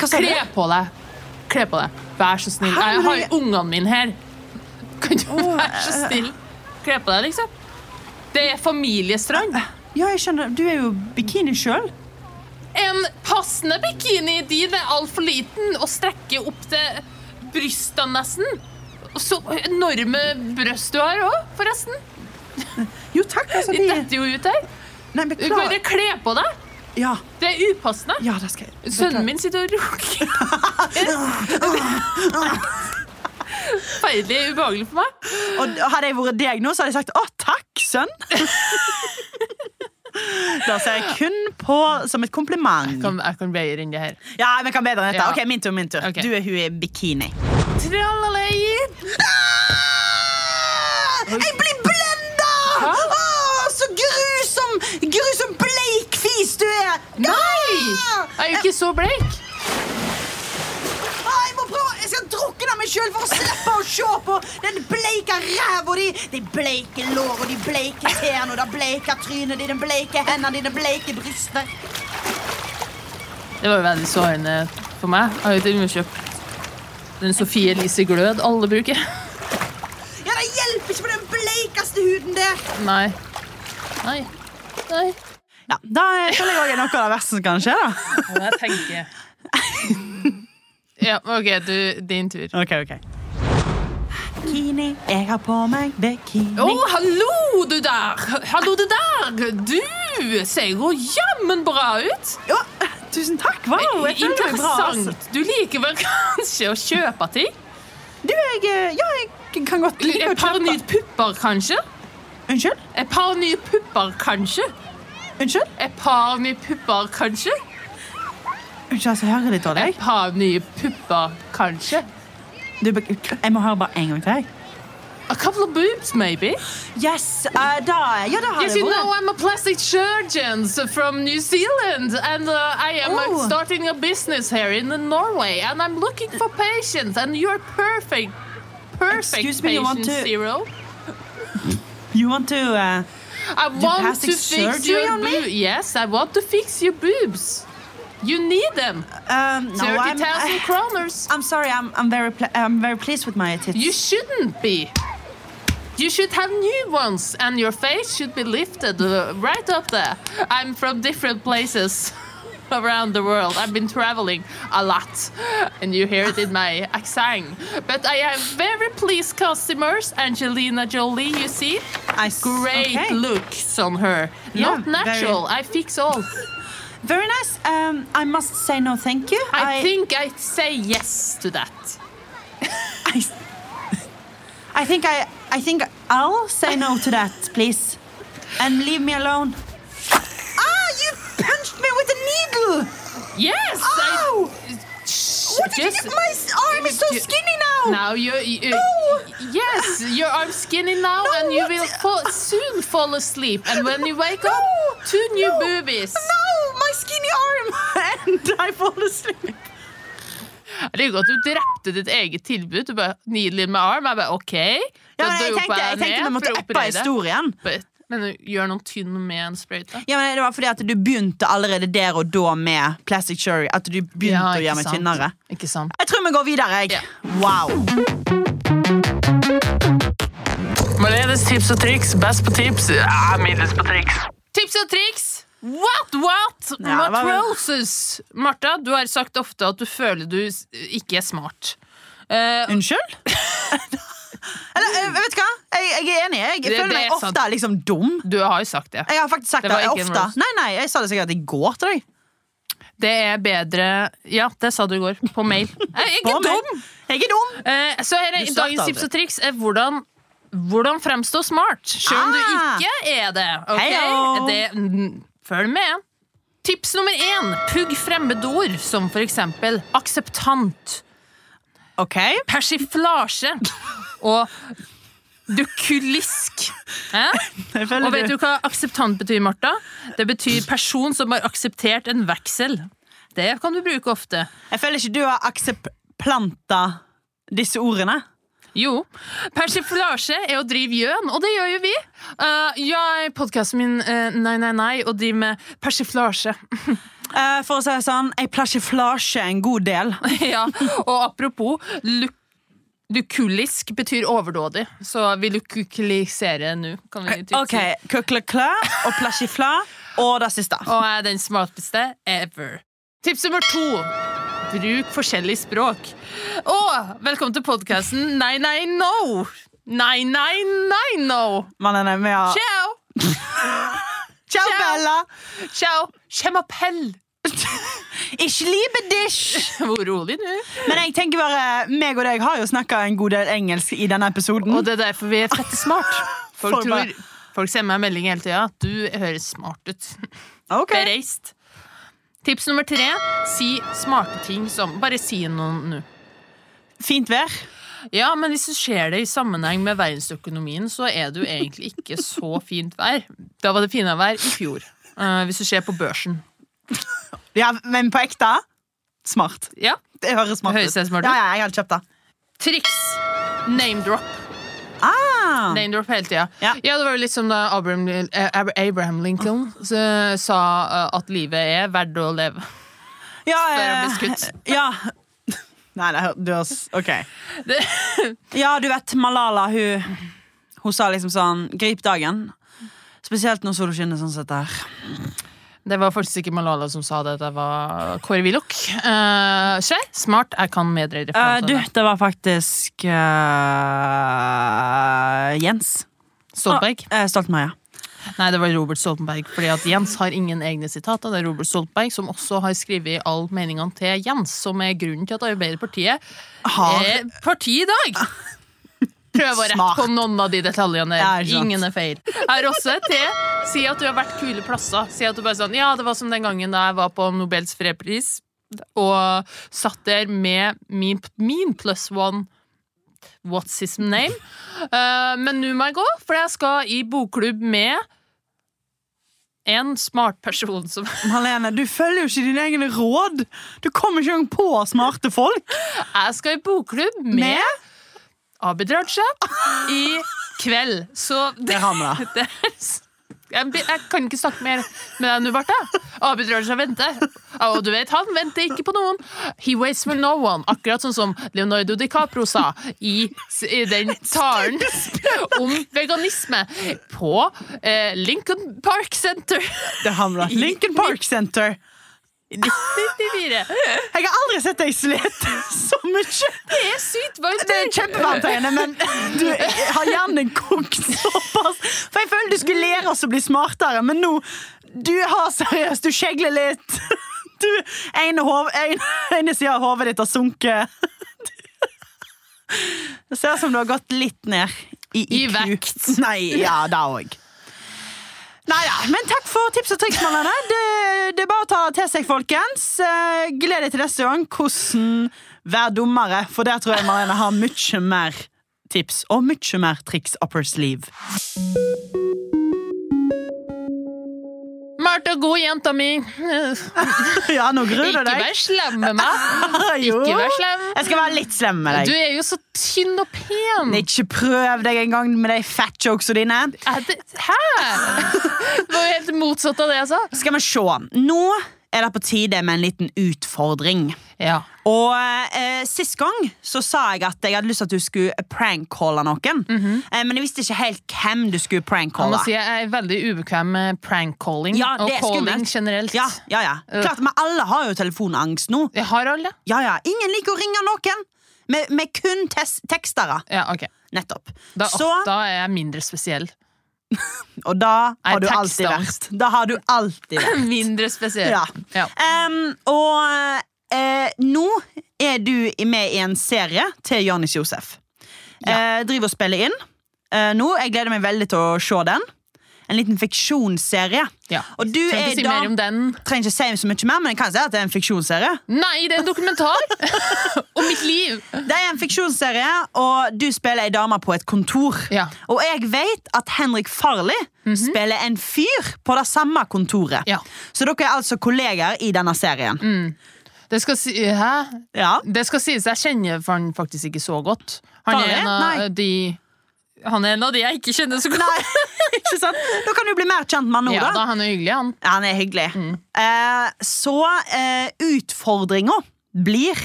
Hva sa du?
Kle på deg. Kle på deg. Vær så snill.
Hæ,
Jeg
men
har
jeg-
ungene mine her. Kan du være så snill? Kle på deg, liksom. Det er familiestrand.
Ja, jeg skjønner. Du er jo bikini sjøl.
En passende bikini din er altfor liten og strekker opp til brystene nesten. Og så enorme bryst du har òg, forresten.
Jo takk, altså.
De detter jo ut her.
Nei,
Du kan bare
beklager.
kle på deg.
Ja,
Det er upassende.
ja, det skal jeg
Sønnen min sitter og runker. Forferdelig ubehagelig for meg.
Og hadde jeg vært deg nå, så hadde jeg sagt å, takk, sønn. Da ser jeg kun på som et kompliment.
Kan, jeg kan bedre enn det her.
Ja, vi kan bedre enn dette.
Ja.
Ok, Min tur. min tur
Ok.
Du er hun i bikini.
Tralalei.
Jeg blir blenda!
Hæ?
Åh, så grusom, grusom bleikfis du er!
Nei! Jeg er jo ikke så bleik.
Åh, jeg må prøve, jeg skal drukne meg sjøl for å slippe å se på den bleika ræva di, de bleike låra, de bleike tærne, det bleika trynet ditt, den bleike hendene dine, bleike brystene.
Det var jo veldig sårende for meg. Jeg har jo til og med kjøpt den Sofie Elise Glød alle bruker.
Ja, det hjelper ikke på den bleikeste huden der.
Nei. Nei. Nei.
Ja, Da føler jeg òg noe av det verste som kan skje, da.
Og jeg tenker Ja, OK, du, din tur.
Ok, ok. Bikini, jeg har på meg bikini.
Å, hallo, du der! Hallo, du der! Du ser jo jammen bra ut.
Ja, tusen takk. Wow, jeg føler meg bra. Altså.
Interessant. Du liker vel kanskje å kjøpe ting?
Du, jeg, eh, ja, jeg kan godt like å
Et par nye
kjøpe.
pupper, kanskje?
Unnskyld?
Et par nye pupper, kanskje?
Unnskyld?
Et par nye pupper, kanskje?
Unnskyld, altså, jeg hører litt dårlig.
Et par nye pupper, kanskje?
Du, bek- jeg må høre bare en gang til. jeg.
A couple of boobs, maybe?
Yes, eh, da, ja, da har
Yes,
det
you know
vært.
I'm a plastic surgeon from New Zealand, and uh, I am uh,
Oh.
starting a business here in Norway, and I'm looking for patients, and you're perfect
purse. Excuse me, you want
Patient
to
zero.
You want to uh,
I want
plastic
to fix
surgery
your
on me?
boobs. Yes, I want to fix your boobs. You need them.
um, no,
Thirty
I'm,
thousand kroners.
I'm sorry. I'm, I'm very pl- I'm very pleased with my tits.
You shouldn't be. You should have new ones, and your face should be lifted uh, right up there. I'm from different places around the world. I've been traveling a lot, and you hear it in my accent. But I am very pleased customers. Angelina Jolie, you see?
I s-
Great
okay.
looks on her.
Yeah,
Not natural. I fix all.
Very nice. Um, I must say no, thank you.
I, think I say yes to that.
I, I think I I think I'll say no to that, please, and leave me alone. Ah! You punched me with a needle.
Yes! I,
Ow! What Oh! did
Just-
you do? My s- arm is so
Ju-
skinny now.
Now you, you
No!
yes, your arm's skinny now,
No,
and you
what
will
the-
fall, soon fall asleep. And when you wake
No!
up, two new
No!
boobies.
No, my skinny arm, and I fall asleep.
Jeg liker at du drepte ditt eget tilbud. Du bare nydelig med arm. Jeg bare OK.
Ja,
Da
men jeg
dopa
tenkte, jeg
ned
tenkte vi måtte
for å
eppe
operere.
historien.
But- Men du gjør noen tynn med en sprøyte.
Ja, men det var fordi at du begynte allerede der og da med plastic cherry. At du begynte
Ja,
å
ikke
gjøre meg
sant.
tynnere.
Ikke sant.
Jeg tror vi går videre. jeg.
Ja.
Wow.
Maledes tips og triks, best på tips, ja, middels på triks.
Tips og triks! What, what?
Ja, hva-
Matroses! Martha, du har sagt ofte at du føler du s- ikke er smart. Eh,
Unnskyld? Eller, eh, vet du hva? Jeg, jeg er enig. Jeg,
Det-
føler
det
meg
er
ofte
sant.
liksom dum.
du har jo sagt det.
Jeg har faktisk sagt
Det
det,
var ikke en
ofte.
roast.
Nei, nei, Jeg sa det sikkert i går til deg.
Det er bedre Ja, det sa du i går. På mail. Jeg er ikke
På meg.
dum!
Jeg er dum!
Eh, så her er
Du sa det
dagens
aldri.
tips og triks er hvordan hvordan fremstå smart, sjøl om du
Ah.
ikke er det. ok?
Heio.
det mm, følg med. Tips nummer én pugg fremmedord, som for eksempel akseptant,
Ok,
persiflasje og dukulisk. Hæ?
jeg føler
Og vet du hva akseptant betyr, Martha? Det betyr person som har akseptert en veksel. Det kan du bruke ofte.
Jeg føler ikke du har aksepplanta disse ordene.
Jo. Persiflasje er å drive gjøn, og det gjør jo vi. Uh, jeg podkasten min eh, Nei, nei, nei og driver med persiflasje.
Eh, for å si det sånn, jeg plasjeflasjer en god del.
ja. Og apropos luk Lukulisk betyr overdådig, så vi lukuliserer nå. kan vi typ
Ok,
si.
Køkleklø og plasjefla og det siste.
og er den smarteste ever. Tips nummer to. Bruk forskjellig språk. Og velkommen til podkasten Nei, nei, no. Nei, nei, nei, no.
Mannene med å
Ciao.
Ciao, Bella!
Ciao. Kjemapell.
Ikke libedish!
Hvor rolig nå.
Men jeg tenker bare, meg og deg har jo snakka en god del engelsk i denne episoden.
Og det er derfor vi er fette smart. Folk,
Folk bare-
tror, folk sender meg melding hele tida at du høres smart ut.
Ok.
Bereist. Tips nummer tre. Si smarte ting som Bare si noe nå.
Fint vær.
Ja, men hvis du ser det i sammenheng med verdensøkonomien, så er det jo egentlig ikke så fint vær. Da var det finere vær i fjor. eh, hvis du ser på børsen.
Ja, men på ekte smart.
Ja,
Det høres smart
Høres
ut.
det smart ut?
Ja, ja, jeg hadde kjøpt det.
Triks! Name-drop
Ah.
name drop hele tida.
Ja.
det var jo litt som da Abraham, eh, Ab- Abraham Lincoln eh, sa eh, at livet er verdt å leve.
Ja,
Før han
eh,
ble skutt.
Ja. Nei, det hø- du høres OK.
Det,
Ja, du vet Malala, hun, hun sa liksom sånn Grip dagen. Spesielt når sola skinner sånn sett her.
det var faktisk ikke Malala som sa det, det var Kåre Willoch. Uh, skjer. Smart. Jeg kan medre
Eh, du,
referansene.
det var faktisk eh, Jens.
Stolberg.
Ah, eh, Stoltenberg, ja.
Nei, det var Robert Stoltenberg. Fordi at Jens har ingen egne sitater. Det er Robert Stoltenberg som også har skrevet all meningene til Jens, som er grunnen til at Arbeiderpartiet
Har-
er parti Eh, i dag. Prøv å rette
Smart.
på noen av de detaljene.
Ja,
der.
ikke sant.
Ingen er feil. Her også til si at du har vært kule plasser. Si at du bare sånn Ja, det var som den gangen da jeg var på Nobels fredspris og satt der med min, min plus one What's his name? Eh, men nå må jeg gå, for jeg skal i bokklubb med en smart person som
Malene, du følger jo ikke dine egne råd! Du kommer ikke engang på smarte folk!
Jeg skal i bokklubb med,
Med?
Abid Raja i kveld. Så det,
Det har vi, da.
det er s- jeg, be- jeg kan ikke snakke mer med deg nå, Barthe. Abid Raja venter. Ja, Og du vet, han venter ikke på noen. He waits for no one. Akkurat sånn som Leonardo DiCaprio sa i, s- i den talen om veganisme på eh, Lincoln Park Center
Det har vi, da. Lincoln Park Center.
i 1994.
Jeg har aldri sett deg slite så mye.
Det er sykt varmt
Det er
der.
kjempevarmt her inne, men du har hjernen kokt såpass. For jeg føler du skulle lære oss å bli smartere, men nå Du har seriøst, du skjegler litt. Du, ene, hov, ene, ene sida av hodet ditt har sunket. Det ser ut som du har gått litt ned i IQ.
I vekt.
Nei, ja, det òg. Nei da, men takk for tips og triks, Marlene. Det, det er bare å ta til seg, folkens. Eh, Gled deg til neste gang. Hvordan være dummere, for der tror jeg Marlene har mye mer tips og mye mer triks up her sleeve.
Martha, god jenta mi. Ikke
Ja, nå gruer du deg.
vær slem med meg.
Jo.
Ikke vær slem.
Jeg skal være litt slem med
Du
deg.
er jo så tynn og pen.
Ikke prøv deg engang med de fat jokesa dine.
Er det, hæ? Det var jo helt motsatt av det jeg sa.
Skal vi se. Nå er det på tide med en liten utfordring.
Ja.
Og eh, Sist gang så sa jeg at jeg hadde lyst til at du skulle prankcalle noen. eh, men jeg visste ikke helt hvem du skulle
Jeg
prankcalle.
Mhm. må si jeg er veldig ubekvem med prank-calling
Ja,
og
det er
calling
skummelt.
generelt.
Ja, ja, ja. Klart, men alle har jo telefonangst nå.
Jeg har alle.
Ja, ja. Ingen liker å ringe noen. Med, med kun tes tekstere.
Ja, ok.
Nettopp.
Da,
Så,
da er jeg mindre spesiell.
og da
Nei,
har du alltid
tekstangst.
vært. Da har du alltid vært.
Mindre spesiell.
Ja.
Ja.
Em, og eh, nå er du i- med i en serie til Jonis Josef. Eh, driver og spiller inn eh, nå. Jeg gleder meg veldig til å se den. En liten fiksjonsserie.
Ja.
Og du
Trenger
er
ikke si
da
mer om den.
Trenger ikke si så mye mer, men jeg kan si at det er en fiksjonsserie.
Nei, det er en dokumentar om mitt liv!
Det er en fiksjonsserie, og du spiller ei dame på et kontor.
Ja. Mhm.
Og jeg vet at Henrik Farley spiller en fyr på det samme kontoret.
Ja. Mm.
Så dere er altså kolleger i denne serien.
Det skal si Hæ?
Ja.
Det skal sies, jeg kjenner for han faktisk ikke så godt. Han
Farlig?
er en av
Nei.
de Han er en av de jeg ikke kjenner så godt.
Nei, ikke sant? Da kan du bli mer kjent med han nå,
Ja,
da.
da, han er hyggelig, han.
Ja, han er hyggelig. Eh, så eh, utfordringa blir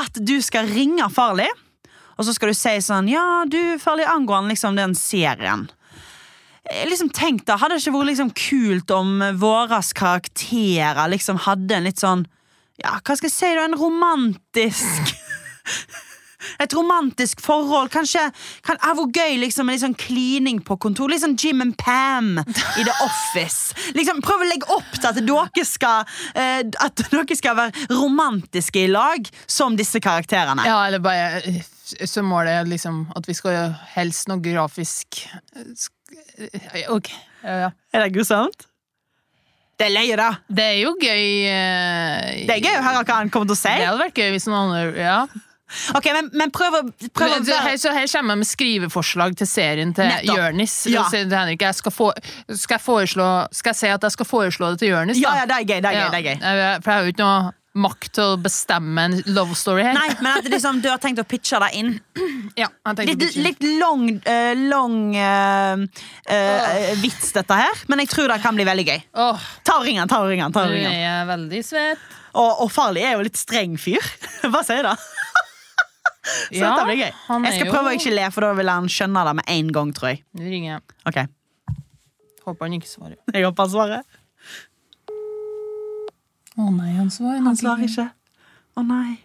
at du skal ringe Farley, og så skal du si sånn Ja, du, Farley, angående liksom den serien. Eh, Liksom tenk da, Hadde det ikke vært liksom kult om eh, våre karakterer liksom hadde en litt sånn Ja, hva skal jeg si, da? En romantisk et romantisk forhold. Kanskje kan, ah, Hvor gøy liksom, med litt sånn klining på kontor. Litt sånn Jim and Pam i The Office. Liksom, prøv å legge opp til at dere skal eh, At dere skal være romantiske i lag som disse karakterene.
Ja, eller bare eh, Så må det liksom at vi skal gjøre helst noe grafisk eh, sk- eh, Ok. Ja, ja.
Er det grusomt? Det er løye, da.
Det er jo gøy eh,
Det er gøy å høre hva han kommer til å
Det
si.
hadde vært gøy hvis noen andre ja.
Ok, Men, men prøv å, prøv å
Men, så, her,
være
så her kommer jeg med skriveforslag til serien til
Nettopp.
Jørnis.
Ja.
Så sier jeg til Henrik, jeg skal, få, skal, jeg foreslå, skal jeg si at jeg skal foreslå det til Jørnis?
Ja,
da?
ja, det er gøy. det er gøy,
Ja.
det er gøy
Jeg- For jeg har jo ikke noe makt til å bestemme en love story her.
Nei, men at liksom, du har tenkt å pitche deg inn.
Ja, jeg tenkte
Litt,
på-
litt lang, eh, lang eh, eh, vits, dette her. Men jeg tror det kan bli veldig gøy.
Åh,
Ta og ring han, ta og ring han. ta
nå
Og, ring
er
han.
jeg veldig svett.
og, og Farley er jo litt streng fyr. Hva sier det? Så
Ja,
dette blir gøy.
han
Jeg
er
skal
jo-
prøve å ikke le, for da vil han skjønne det med en gang. tror jeg
Nå ringer jeg.
Ok,
Håper han ikke svarer.
Jeg håper han svarer.
Å nei, han svarer
Han svarer ikke. Å nei.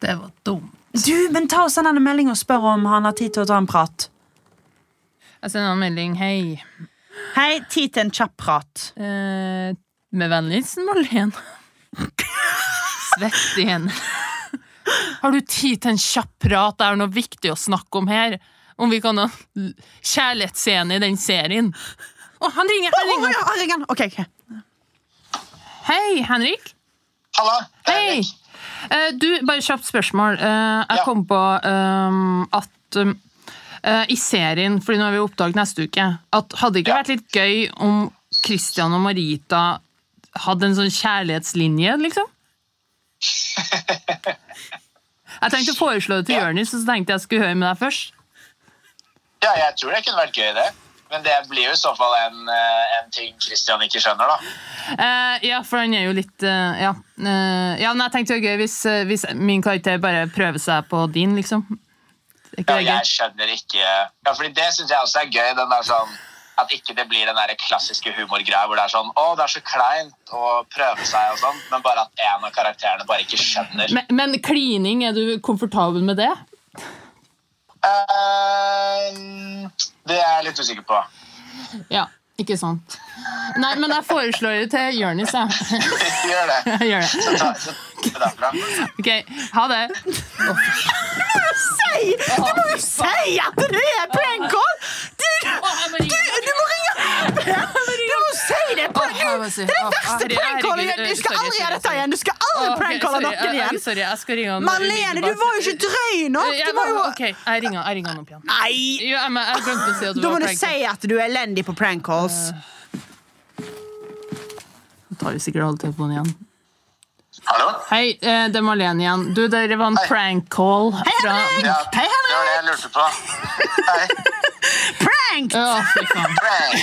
Det var dumt.
Du, men ta og Send han en melding og spør om han har tid til å ta en prat.
Jeg sender han en melding. Hei.
Hei, tid til en kjapp prat.
Eh, med vennligsen Marlen. Svett igjen. Har du tid til en kjapp prat? Det er noe viktig å snakke om her. Om vi kan ha l- kjærlighetsscene i den serien. Å, han ringer! Han
Å
ringer.
ja, ring han. Ok, ok.
Hei, Henrik.
Halla. det er
Hei!
Henrik.
Eh, du, bare kjapt spørsmål. Eh, jeg
Ja.
kom på ehm, at um, eh, i serien, fordi nå har vi oppdag neste uke, at hadde det ikke
Ja.
vært litt gøy om Christian og Marita hadde en sånn kjærlighetslinje, liksom? Jeg tenkte å foreslå det til Jonis, så tenkte jeg skulle høre med deg først.
Ja, jeg tror det kunne vært gøy, det. Men det blir jo i så fall en, eh, en ting Christian ikke skjønner, da.
Eh, ja, for han er jo litt eh, ja. Eh, ja, men jeg tenkte det var gøy hvis, eh, hvis min karakter bare prøver seg på din, liksom. Er ikke
Ja,
det
jeg
gøy?
skjønner ikke Ja, fordi det syns jeg også er gøy. Den der sånn at ikke det blir den der klassiske humorgreia hvor det er sånn Å, det er så kleint å prøve seg og sånn, men bare at en av karakterene bare ikke skjønner.
Men, men klining, er du komfortabel med det?
Eh, det er jeg litt usikker på.
Ja, ikke sant. Nei, men jeg foreslår det til Jonis, jeg.
Gjør det.
Jeg Gjør det.
Så ta, så ta det derfra.
Ok, ha det.
Nei, du må jo si at det er prank call! Du, du, du må ringe Du må si det! på-
Åh, jeg må si-
Du, det er
åh,
det
herregud,
verste prank callet!
herregud,
Du
sorry,
skal aldri
sorry,
gjøre dette
sorry.
igjen! Du skal aldri prank calle noen igjen!
Sorry, jeg skal ringe han.
Marlene, du var jo ikke drøy nok! Du
Jeg
må
var,
jo
ok, jeg ringer, jeg ringer han opp igjen.
Nei!
Jo, jeg, men jeg glemte å si at du
Da må
var
du
prank.
si at du er elendig på prank calls.
Jeg tar jo sikkert alle telefonen igjen.
Hallo?
Hei, eh, det er Marlene igjen. Du, det var en
Hei.
prank call fra
Ja,
Hei,
det var det jeg lurte på. Hei.
Prank!
Å, fy faen.
Bang.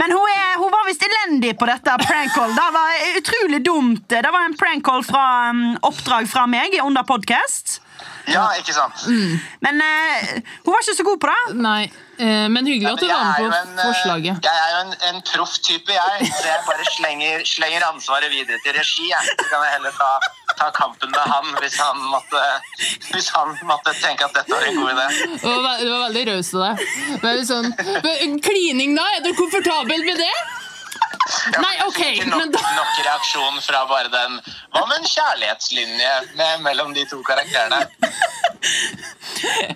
Men hun, er, hun var visst elendig på dette prank call. Det var utrolig dumt. Det var en prank call fra um, oppdrag fra meg under podkast.
Ja, ikke sant?
Mm.
Men eh, hun var ikke så god på det.
Nei, eh, men hyggelig at du
Jeg
var
er jo
med på
en, eh,
forslaget.
Jeg er jo en, en proff type, jeg. Så jeg bare slenger, slenger ansvaret videre til regi. Jeg. Så kan jeg heller ta, ta kampen med han hvis han, måtte, hvis han måtte tenke at dette var en god idé.
Det var, ve- det var veldig raust av deg. Veldig sånn, men Klining, da? Er du komfortabel med det? Nei, OK,
Ikke
men
nok,
da
nok reaksjon fra bare den Hva med en kjærlighetslinje med, mellom de to karakterene?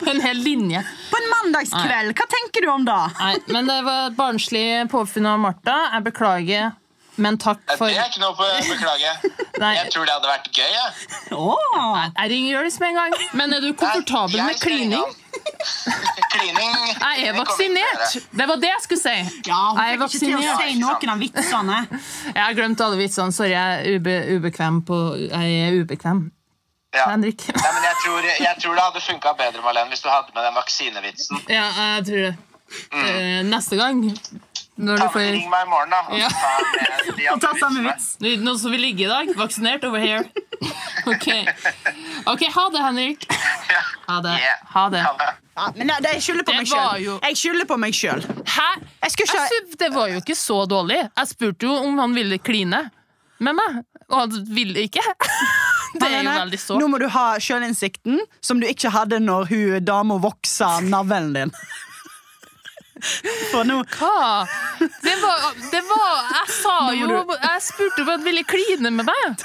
En hel linje.
På en mandagskveld. Hva tenker du om det?
Nei, men det var et barnslig påfunn av Martha. Jeg beklager, men takk for
Det er ikke noe på å beklage.
Nei.
Jeg tror det hadde vært gøy. Jeg,
Åh.
Jeg ringer Jonis med en gang. Men er du komfortabel
Jeg
med
skal ringe
klining?
han. Klining
Jeg er
det kommer til å gjøre.
vaksinert! Det var det jeg skulle si.
Ja, hun
Jeg er
fikk ikke til å
vaksinert.
si noen av vitsene.
Jeg har glemt alle vitsene. Sorry, jeg er ube, ubekvem på Jeg er ubekvem.
Ja.
Henrik.
Nei, men jeg tror, jeg tror det hadde funka bedre Marlene, hvis du hadde med den vaksinevitsen.
Ja, jeg tror det.
Mm.
Eh, Neste gang, når
Ta
du
med-
får
Ring meg i morgen, da. og
Ja.
så tar jeg med de
Og ta
andre
samme
vitsene.
vits.
Noen som vil ligge i dag? Vaksinert over here. Ok, Ok, ha det, Henrik. Ha det.
Yeah.
Ha det.
Ha det.
Ja, men det, det, jeg skylder på
Det
meg
var
sjøl.
jo-
Jeg skylder på meg sjøl.
Hæ?
Jeg skulle ikke-
Jeg synes det var jo ikke så dårlig. Jeg spurte jo om han ville kline med meg, og han ville ikke. Det er jo
Helene,
veldig sårt.
Nå må du ha sjølinnsikten som du ikke hadde når hun dama voksa navlen din. For nå
Hva? Det var, det var Jeg sa
Nå
jo
må
Jeg spurte om han ville kline med meg.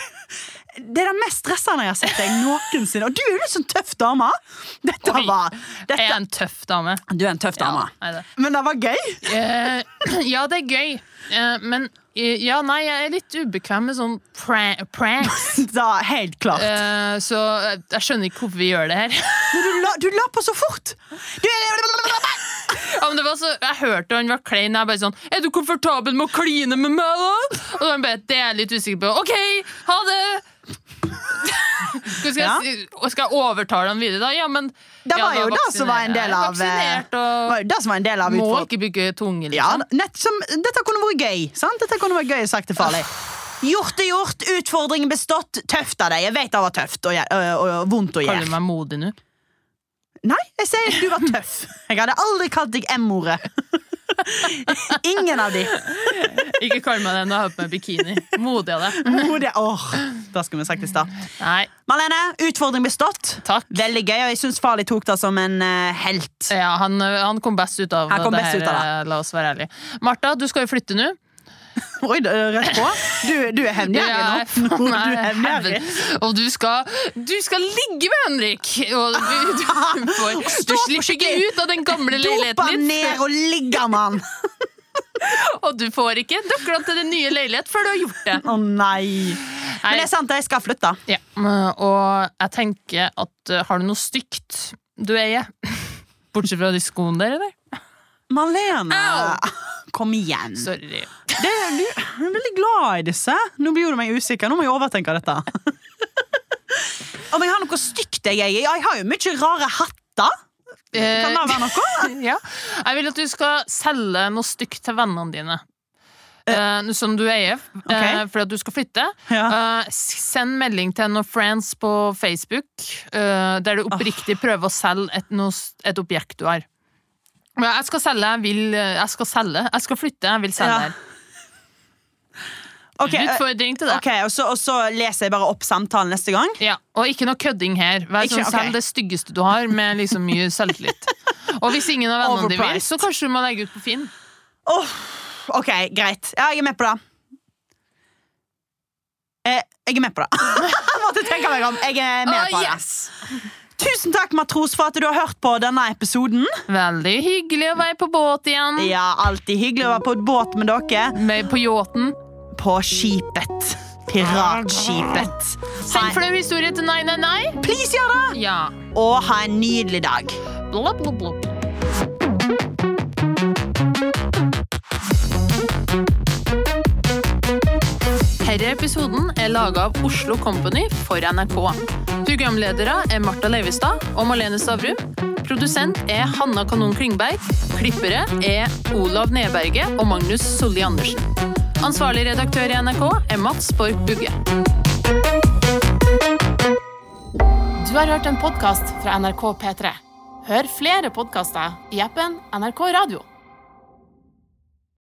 Det er det mest stressende jeg har sett deg noensinne. Og du er jo en sånn tøff dame. Dette
Oi.
var
Jeg er
dette,
en tøff dame.
Du er en tøff dame.
nei, det.
Men det var gøy.
Eh, ja, det er gøy. Eh, men eh, ja, nei, jeg er litt ubekvem med sånn pra pranks.
Da, helt klart.
Eh, så eh, jeg skjønner ikke hvorfor vi gjør det her.
Men du la, du la på så fort! Du
ja, men det var så, jeg hørte han var klein. Jeg bare sånn 'Er du komfortabel med å kline med meg, da?' Og han bare 'Det er jeg litt usikker på'. 'OK, ha det'. Skal jeg,
Ja.
si- og skal jeg overtale han videre, da? Ja, men
Det
ja,
var jo det som var en del av
Jeg er vaksinert
eh,
og
var jo det som var en del av
må
utfordringen.
ikke bygge tunge,
Ja,
liksom.
nett som, dette kunne vært gøy. Sant? Dette kunne vært gøy sagt til farlig. Gjort er gjort, utfordringen bestått. Tøft av deg. Jeg vet det var tøft og, gjer- og, og, og vondt å
Kaller du
gjøre.
meg modig nå?
Nei, jeg sier du var tøff. Jeg hadde aldri kalt deg M-ordet. Ingen av de.
Ikke kall meg det når jeg har på meg bikini. Modig av deg.
Oh, det, åh, det skulle vi sagt i stad.
Nei,
Marlene, utfordring bestått.
takk.
Veldig gøy, og jeg syns Farlig tok det som en eh, helt.
Ja, han, eh, han kom best ut av
Han kom
det
best
her, eh,
ut av
la oss være ærlige. Martha, du skal jo flytte nå.
Oi, det er rett på. Du, du er
Du
hevngjerrig
er-
nå. Du
Nei,
er hevngjerrig.
heaven. Og du skal, du skal ligge med Henrik! Og du, du, får, du slipper ikke
skikkelig.
ut av den gamle
Dopa
leiligheten din.
ned og ligge, mann!
Og du får ikke nøklene til den nye leilighet før du har gjort det.
Å nei.
Nei.
Men det er sant, jeg skal flytte.
Ja, og jeg tenker at eh, har du noe stygt du eier? Bortsett fra de skoene der, eller?
Malene! Kom igjen.
Sorry.
Det, du, jeg er veldig glad i disse. Nå blir du meg usikker. Nå må jeg overtenke dette. Om jeg har noe stygt jeg eier? Ja, jeg har jo mye rare hatter.
Eh,
Kan det være noe?
ja. Jeg vil at du skal selge noe stygt til vennene dine. Eh, som du eier, eh, fordi at du skal flytte.
Ja.
Eh, s- send melding til noen friends på Facebook eh, der du
Ah.
oppriktig prøver å selge et, noe, s- et objekt du har. Men Jeg skal selge, jeg vil eh, Jeg skal selge, jeg skal flytte, jeg vil selge.
Ja.
her.
Ok, eh,
Utfordring til deg.
ok, og, så, og så leser jeg bare opp samtalen neste gang.
Ja, og ikke noe kødding her. Vær
Ikke-
sånn,
ok.
Selg det styggeste du har, med liksom mye selvtillit. Og hvis ingen av vennene dine vil,
Overpriced.
så kanskje du må legge ut på Finn.
Åh, ok, greit. Ja, jeg er med på det. Eh, jeg er med på det. Jeg måtte tenke meg om. Jeg er med
Åh,
på det. Tusen takk, Matros, for at du har hørt på denne episoden.
Veldig hyggelig å være på båt igjen.
Ja, alltid hyggelig å være på et båt med dere.
Med, på yachten.
På skipet. Piratskipet. Ha
Send
en-
flau historie til nei, nei, nei.
Please, gjør det!
Ja.
Og ha en nydelig dag.
Bla, bla, bla. Herre episoden er laget av Oslo Company for NRK. Programledere er Martha Leivestad og Malene Stavrum. Produsent er Hanna Kanon Klingberg. Klippere er Olav Neberge og Magnus Solli Andersen. Ansvarlig redaktør i NRK er Mats Borg Bugge.
Du har hørt en podkast fra NRK P3. Hør flere podkaster i appen NRK Radio.